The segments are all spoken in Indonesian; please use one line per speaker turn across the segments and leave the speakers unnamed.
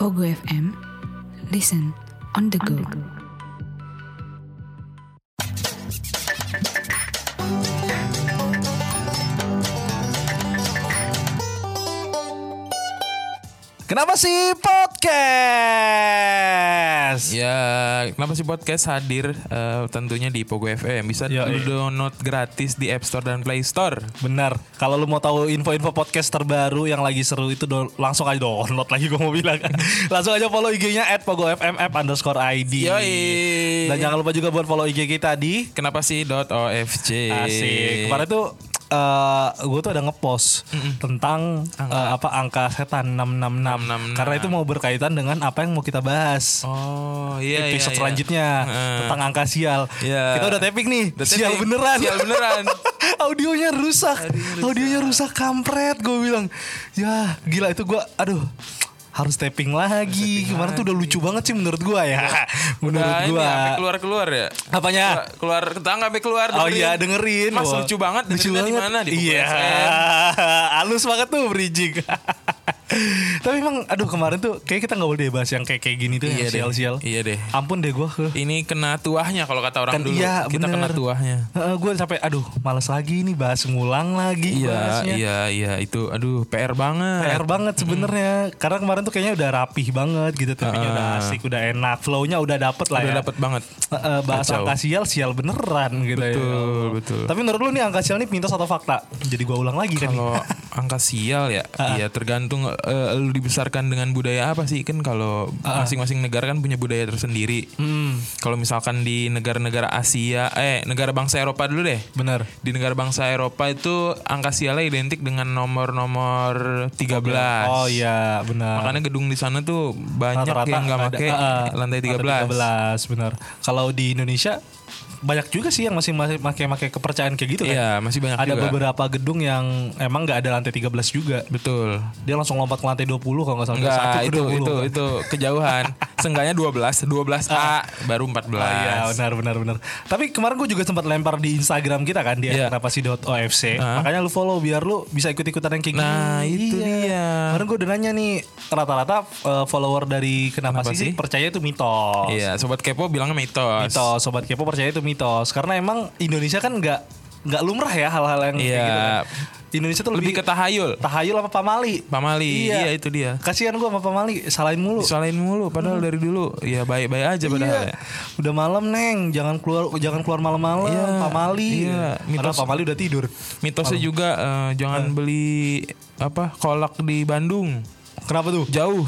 Ogo FM. Listen on the go.
Kenapa sih podcast?
Ya, kenapa sih podcast hadir eh, tentunya di Pogo FM bisa
Yo,
lu
iya.
download gratis di App Store dan Play Store.
Benar. Kalau lu mau tahu info-info podcast terbaru yang lagi seru itu do- langsung aja download lagi gue mau bilang. langsung aja follow IG-nya at underscore ID.
Yoi.
Dan jangan lupa juga buat follow IG kita di
Kenapa sih dot OFC?
Iya. Asik. Kemarin tuh gue tuh ada ngepost tentang eh, apa angka setan 666.
666.
Karena itu mau berkaitan dengan apa yang mau kita bahas.
Oh, iya iya,
episode
iya.
selanjutnya
Heeh.
tentang angka sial.
Iya.
Kita udah taping nih.
Udah
sial
taping.
beneran.
Sial beneran.
Audionya rusak. Audionya rusak kampret gue bilang. Ya, gila itu gua aduh harus taping lagi. Kemarin tuh udah lucu banget sih menurut gua ya. menurut
Nah, Iya. ini
gua.
sampai keluar-keluar ya.
Apanya?
Keluar ke tangga sampai keluar
Oh
dengerin.
iya dengerin
Mas
Wah.
lucu banget
Lucu
dengerinnya
banget
di mana di Pogo
Iya
FM.
Halus banget tuh bridging Tapi emang Aduh kemarin tuh Kayaknya kita gak boleh deh bahas Yang kayak kayak gini tuh
Iya
Yang
deh.
sial-sial
Iya deh.
Ampun deh gue ke
Ini kena tuahnya kalau kata orang
Kan
dulu.
iya,
Kita
bener.
kena tuahnya.
gue sampai aduh males lagi nih bahas ngulang lagi
Iya,
bahasnya.
iya, iya, itu aduh PR banget.
PR banget sebenarnya karena kemarin tuh kayaknya udah rapih banget gitu tapinya udah asik udah enak flownya udah dapet lah
Udah
ya
dapet banget.
Eh, eh, bahas
Kacau.
angka sial sial beneran gitu ya
Betul, betul.
tapi menurut lu nih angka sial nih mitos atau fakta jadi Ah. gua ulang lagi kan nih.
Kalau angka sial ya, iya tergantung eh, lu dibesarkan dengan budaya apa sih kan kalau
Ah.
masing-masing negara kan punya budaya tersendiri.
Hmm.
Kalau misalkan di negara-negara Asia, eh negara bangsa Eropa dulu deh.
bener
Di negara bangsa Eropa itu angka sialnya identik dengan nomor-nomor 13.
oh iya benar
Makanya gedung di sana tuh banyak
rata-rata
yang nggak
ada-
pakai
eh, eh,
lantai
ada
13.
13 benar kalau di Indonesia banyak juga sih yang masih masih pakai pakai kepercayaan kayak gitu kan
Iya, masih banyak
ada
juga.
beberapa gedung yang emang nggak ada lantai 13 juga
Betul.
dia langsung lompat ke lantai 20 kalau nggak salah Dari satu kan?
Enggak,
ke
itu
20.
itu itu kejauhan. Seenggaknya 12, 12A baru 14.
Oh iya benar benar benar. Tapi kemarin gue juga sempat lempar di Instagram kita kan di
Iya.
kenapa sih .ofc. Makanya lu follow biar lu bisa ikut-ikutan yang kayak gini.
Nah, itu dia.
Kemarin gue udah nanya nih rata-rata eh, follower dari kenapa,
Kenapa
sih,
sih?
percaya itu mitos.
Iya, sobat kepo bilangnya mitos.
Mitos, sobat kepo percaya itu mitos. Karena emang Indonesia kan nggak nggak lumrah ya hal-hal yang kayak
Iya.
gitu kan. Indonesia tuh
Lebih
lebih,
ke tahayul.
tahayul apa pamali.
Pamali,
Iya.
iya. itu dia.
Kasihan gue sama pamali, salahin mulu.
Disalahin mulu padahal dari dulu ya baik-baik aja padahal.
Iya.
ya.
Udah malam neng, jangan keluar jangan keluar malam-malam.
Iya,
Pamali.
iya.
Padahal
Mitos-
Pamali udah tidur.
Mitosnya juga eh, jangan beli apa kolak di Bandung.
Kenapa tuh?
Jauh.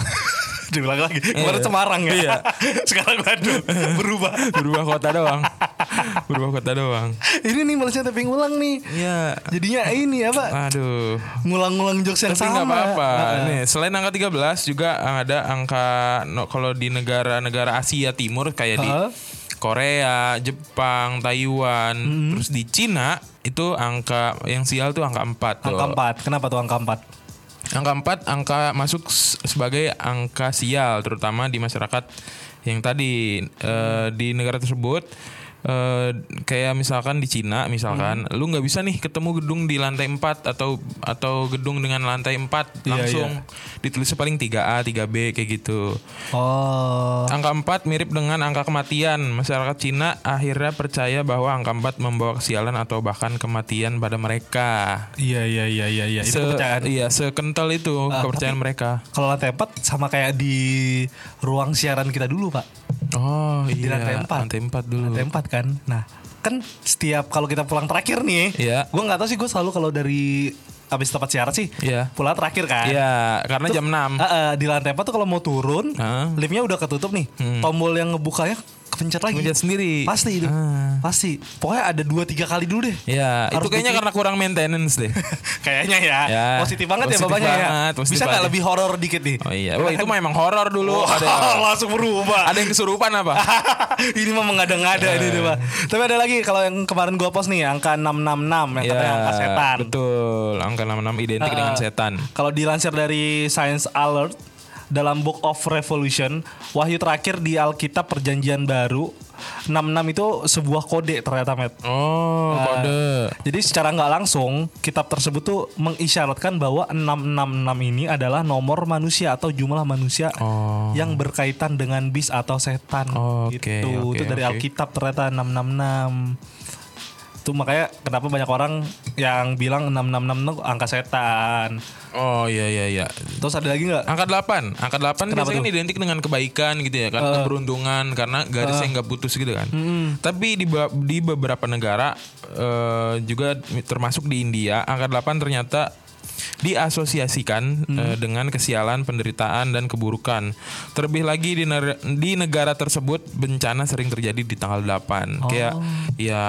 Diulang lagi.
Iya.
Kemarin Semarang ya. Sekarang Bandung berubah.
Berubah kota doang. Berubah kota doang.
ini nih malasnya tapi ngulang nih.
Iya.
Jadinya ini apa?
Aduh.
Ngulang-ngulang jokes yang
Tapi
sama. Nah,
nggak apa-apa.
Heeh.
Nih, selain angka 13 juga ada angka no, kalau di negara-negara Asia Timur kayak di
Heeh.
Korea, Jepang, Taiwan,
Hmm.
terus di Cina itu angka yang sial tuh angka 4
Angka empat. Kenapa tuh angka empat?
Angka 4 angka masuk s- sebagai angka sial terutama di masyarakat yang tadi eh, di negara tersebut eh, kayak misalkan di Cina misalkan
Hmm.
lu nggak bisa nih ketemu gedung di lantai 4 atau atau gedung dengan lantai 4
Iya,
langsung ditulisnya paling 3A, 3B kayak gitu.
Oh.
Angka 4 mirip dengan angka kematian. Masyarakat Cina akhirnya percaya bahwa angka 4 membawa kesialan atau bahkan kematian pada mereka.
Iya iya iya iya iya. Itu
Se-
kepercayaan. Ah,
Iya, sekental itu kepercayaan mereka.
Kalau lantai empat sama kayak di ruang siaran kita dulu pak.
Oh,
Di
iya.
lantai empat.
Lantai empat dulu.
lantai empat kan nah kan setiap kalau kita pulang terakhir nih
Iya.
gue nggak tahu sih gue selalu kalau dari abis tempat siaran sih
Iya.
pulang terakhir kan
Iya, karena jam 6.
Eh, eh, di lantai empat tuh kalau mau turun
Heeh.
liftnya udah ketutup nih tombol yang ngebukanya kepencet lagi
Hmm. Kepencet sendiri.
pasti itu
Ah.
pasti pokoknya ada dua tiga kali dulu deh
Iya,
Harus
itu kayaknya
bikin-
karena kurang maintenance deh.
kayaknya ya.
Ya.
positif banget ya
Positif
bapaknya
banget,
ya
positif
bisa nggak
banget.
lebih horor dikit nih
Oh iya. Wah, itu memang horor dulu. Ada
langsung berubah
ada yang kesurupan apa?
ini mah mengada-ngada ini tuh, Pak. Tapi ada lagi kalau yang kemarin gua post nih angka 666 yang katanya angka setan.
Iya, Betul. Angka 66 identik
Eh,
dengan setan.
Kalau dilansir dari Science Alert dalam Book of Revolution, wahyu terakhir di Alkitab Perjanjian Baru 66 itu sebuah kode ternyata Matt.
Oh, kode.
Jadi secara nggak langsung kitab tersebut tuh mengisyaratkan bahwa 666 ini adalah nomor manusia atau jumlah manusia
Oh.
yang berkaitan dengan bis atau setan
Oh, oke,
gitu.
oke,
itu dari
oke.
Alkitab ternyata 666. Itu makanya kenapa banyak orang yang bilang 666 tuh angka setan.
Oh, iya iya iya.
Terus ada lagi nggak?
Angka 8. Angka 8
Kenapa
biasanya kan identik dengan kebaikan gitu ya, karena keberuntungan, karena garisnya nggak putus gitu kan. Tapi di ba- di beberapa negara eh, juga termasuk di India, angka 8 ternyata diasosiasikan eh, dengan kesialan, penderitaan dan keburukan. Terlebih lagi di ner- di negara tersebut bencana sering terjadi di tanggal 8. Kayak ya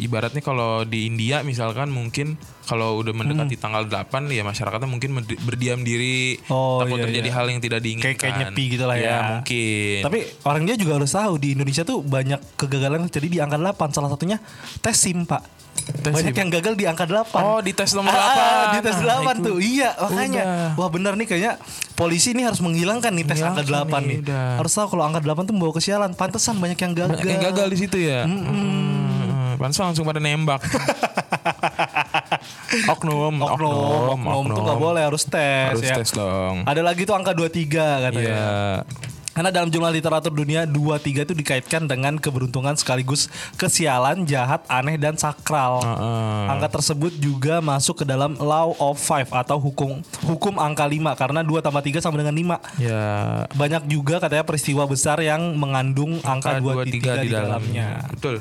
ibaratnya kalau di India misalkan mungkin kalau udah mendekati tanggal 8 ya masyarakatnya mungkin mende- berdiam diri
Oh,
takut
iya,
terjadi
iya.
hal yang tidak diinginkan. Iya,
Kayak- kayak nyepi gitu lah ya.
mungkin.
Tapi orang dia juga harus tahu di Indonesia tuh banyak kegagalan yang terjadi di angka 8. Salah satunya tes SIM, Pak.
Tes
banyak
SIM.
yang gagal di angka 8.
Oh, di tes nomor 8.
ah, di tes
Nah,
8
itu.
tuh. Iya, makanya.
Udah.
Wah, benar nih kayaknya polisi ini harus menghilangkan nih tes angka
Menghilangkan
8
nih,
nih.
udah.
Harus tahu kalau angka 8 tuh membawa kesialan. Pantesan banyak yang gagal.
Banyak yang gagal di situ ya. Mm-mm. Pantes langsung pada nembak. oknum, oknum,
Oknum, oknum, tuh gak boleh harus tes
Harus
ya.
tes dong.
Ada lagi tuh angka 23 katanya.
Iya.
Karena dalam jumlah literatur dunia 23 itu dikaitkan dengan keberuntungan sekaligus kesialan, jahat, aneh dan sakral.
Heeh.
Angka tersebut juga masuk ke dalam law of five atau hukum hukum angka 5 karena 2 tambah 3 sama dengan 5.
Ya.
Banyak juga katanya peristiwa besar yang mengandung angka, 23, di dalamnya. Hmm.
Betul.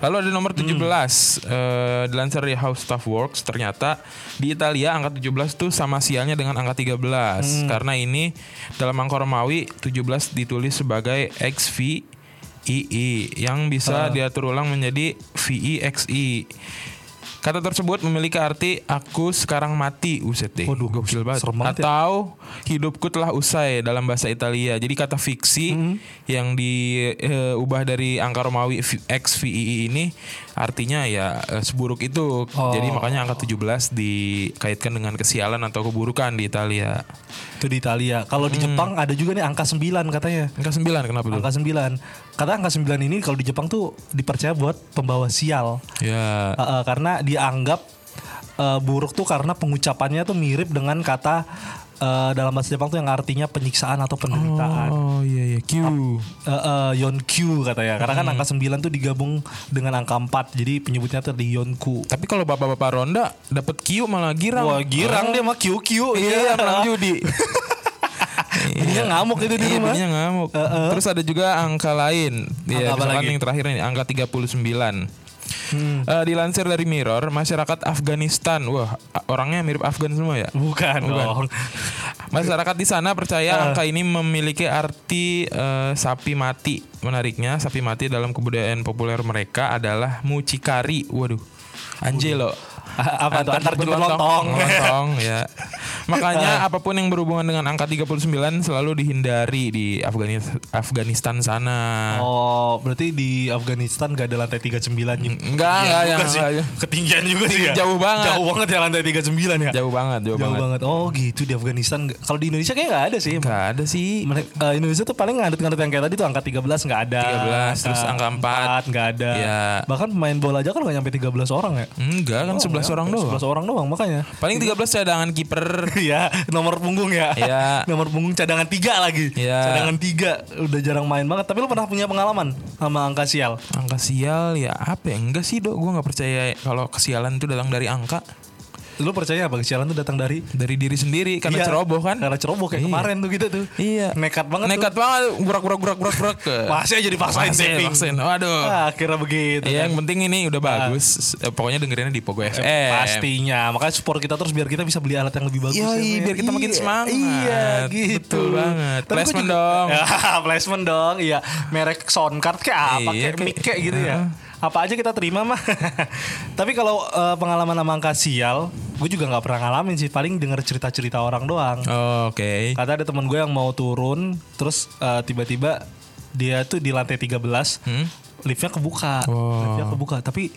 Lalu ada nomor 17 eh, dilansir dari How Stuff Works ternyata di Italia angka 17 tuh sama sialnya dengan angka 13
Hmm.
karena ini dalam angka Romawi 17 ditulis sebagai XV yang
Ah.
bisa diatur ulang menjadi VEXI. Kata tersebut memiliki arti aku sekarang mati Uset deh.
Waduh,
gokil banget.
serem banget ya.
Atau hidupku telah usai dalam bahasa Italia. Jadi kata fiksi
Hmm.
yang diubah dari angka Romawi V- XVII ini artinya ya eh, seburuk itu.
Oh.
Jadi makanya angka 17 dikaitkan dengan kesialan atau keburukan di Italia.
Itu di Italia. Kalau di Jepang ada juga nih angka 9 katanya.
Angka 9 kenapa dulu?
Angka 9. Kata angka 9 ini kalau di Jepang tuh dipercaya buat pembawa sial.
Ya.
Uh, uh, karena dianggap uh, buruk tuh karena pengucapannya tuh mirip dengan kata uh, dalam bahasa Jepang tuh yang artinya penyiksaan atau penderitaan.
Oh iya iya Q.
Uh, uh, yonkyu katanya. Karena
Hmm.
kan angka 9 tuh digabung dengan angka 4. Jadi penyebutnya tuh di yonku.
Tapi kalau bapak-bapak ronda dapat Q malah girang. Oh.
Wah, girang dia mah kyu-kyu.
Iya, menang judi.
Dia ngamuk itu di
Iya,
rumah.
jadinya ngamuk. Terus ada juga angka lain. Ya,
apa
misalkan
lagi?
yang terakhir ini angka 39.
Hmm.
Eh, dilansir dari Mirror, masyarakat Afghanistan, wah a- orangnya mirip Afgan semua ya.
Bukan, dong.
Masyarakat di sana percaya
Ah.
angka ini memiliki arti eh, sapi mati. Menariknya, sapi mati dalam kebudayaan populer mereka adalah mucikari. Waduh, Angelo.
A- Ah, Apa tuh antar jemput lontong. Ah.
Lontong, ya. Makanya apapun yang berhubungan dengan angka 39 selalu dihindari di Afganis- Afghanistan sana.
Oh, berarti di Afghanistan gak ada lantai 39 gitu.
Enggak, enggak,
Juga
yang-
sih.
enggak, ya.
Ketinggian juga sih ya.
Jauh banget.
Jauh banget ya lantai 39 ya.
Jauh banget, jauh,
Jauh
banget.
banget. Oh gitu di Afghanistan. Nggak- Kalau di Indonesia kayak nggak ada sih.
Enggak ada sih.
Mereka- eh, Indonesia tuh paling ngadut-ngadut yang kayak tadi tuh angka 13 nggak ada.
13, terus angka 4.
nggak ada.
Iya.
Bahkan pemain bola aja kan nggak nyampe 13 orang ya.
Enggak kan 11 orang doang.
11 orang doang makanya.
Paling 13 cadangan kiper.
Iya, nomor punggung ya.
Iya.
nomor punggung cadangan tiga lagi.
Iya.
Cadangan tiga udah jarang main banget. Tapi lu pernah punya pengalaman sama angka sial?
Angka sial ya apa ya? Enggak sih dok, gue nggak percaya kalau kesialan itu datang dari angka,
Lu percaya apa kesialan tuh datang dari
dari diri sendiri
Iya,
karena ceroboh kan?
Karena ceroboh kayak
Iya.
kemarin tuh kita tuh.
Iya.
Nekat banget
Nekat
tuh.
banget, gurak gurak gurak gurak gurak.
Masih aja dipaksain tapping.
vaksin. Waduh.
Ah, akhirnya begitu.
Ya, yang penting ini udah bagus. Eh, Pokoknya dengerinnya di Pogo FM.
Eh, Pastinya. Makanya support kita terus biar kita bisa beli alat yang lebih bagus.
Eh. Yoi,
ya, Nek.
biar kita makin
Iya,
semangat.
Iya, gitu.
Betul
Tapi
banget.
gua
Placement
juga-
dong.
Ya, placement dong. Iya, merek sound card kayak apa
Iya,
kayak
kayak-
mic kayak gitu
Heeh.
ya. Apa aja kita terima mah. Tapi kalau eh, pengalaman sama angka sial, gue juga nggak pernah ngalamin sih. Paling denger cerita-cerita orang doang.
Oh, Oke.
Kata ada teman gue yang mau turun, terus eh,
Hmm?
tiba-tiba dia tuh di lantai 13, liftnya kebuka,
Wah.
liftnya kebuka. Tapi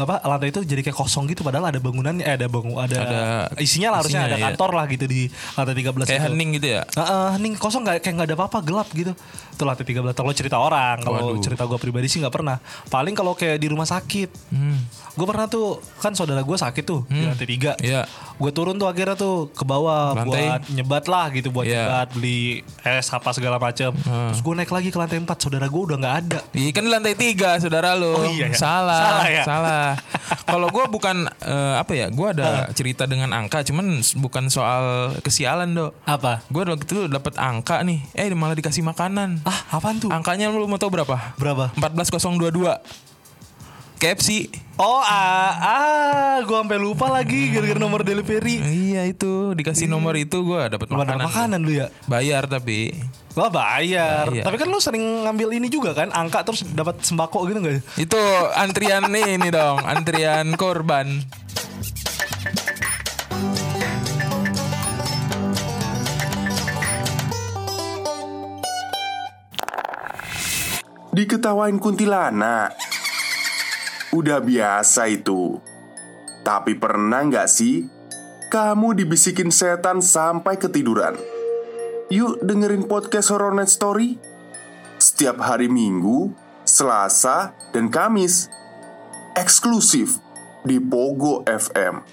apa lantai itu jadi kayak kosong gitu padahal ada bangunannya eh, ada bangun ada,
Ada-
isinya lah harusnya
isinya,
ada
iya.
kantor lah gitu di lantai 13
Kayak
itu.
hening gitu ya.
Heeh, hening kosong nggak kayak nggak ada apa-apa gelap gitu. Itu lantai 13 kalau cerita orang, kalau
Waduh.
cerita gue pribadi sih nggak pernah. Paling kalau kayak di rumah sakit.
Hmm.
Gue pernah tuh kan saudara gue sakit tuh di lantai 3.
Iya.
Gue turun tuh akhirnya tuh ke bawah
Lantai.
buat nyebat lah gitu buat
Iya.
nyebat beli es apa segala macem. Terus gue naik lagi ke lantai 4 saudara gue udah nggak ada.
Iya kan di lantai tiga saudara
Oh,
lo.
iya, ya.
Salah,
Salah,
salah.
ya.
Kalau gue bukan eh, apa ya, gue
Ah.
ada cerita dengan angka, cuman s- bukan soal kesialan do.
Apa?
Gue waktu itu dapat angka nih, eh malah dikasih makanan.
Ah, apaan tuh?
Angkanya lu mau tau berapa?
Berapa?
14022. KFC.
Oh, ah, ah gue sampai lupa lagi gara-gara nomor delivery.
Iya itu dikasih nomor
Iya.
itu gue dapat
Lu ada
makanan.
makanan lu ya?
Bayar tapi
Wah bayar.
Bayar.
Tapi kan lu sering ngambil ini juga kan, angka terus dapat sembako gitu enggak?
itu antrian ini dong, antrian korban.
Diketawain kuntilanak. Udah biasa itu. Tapi pernah nggak sih kamu dibisikin setan sampai ketiduran? Yuk dengerin podcast Horror Night Story setiap hari Minggu, Selasa, dan Kamis. Eksklusif di Pogo FM.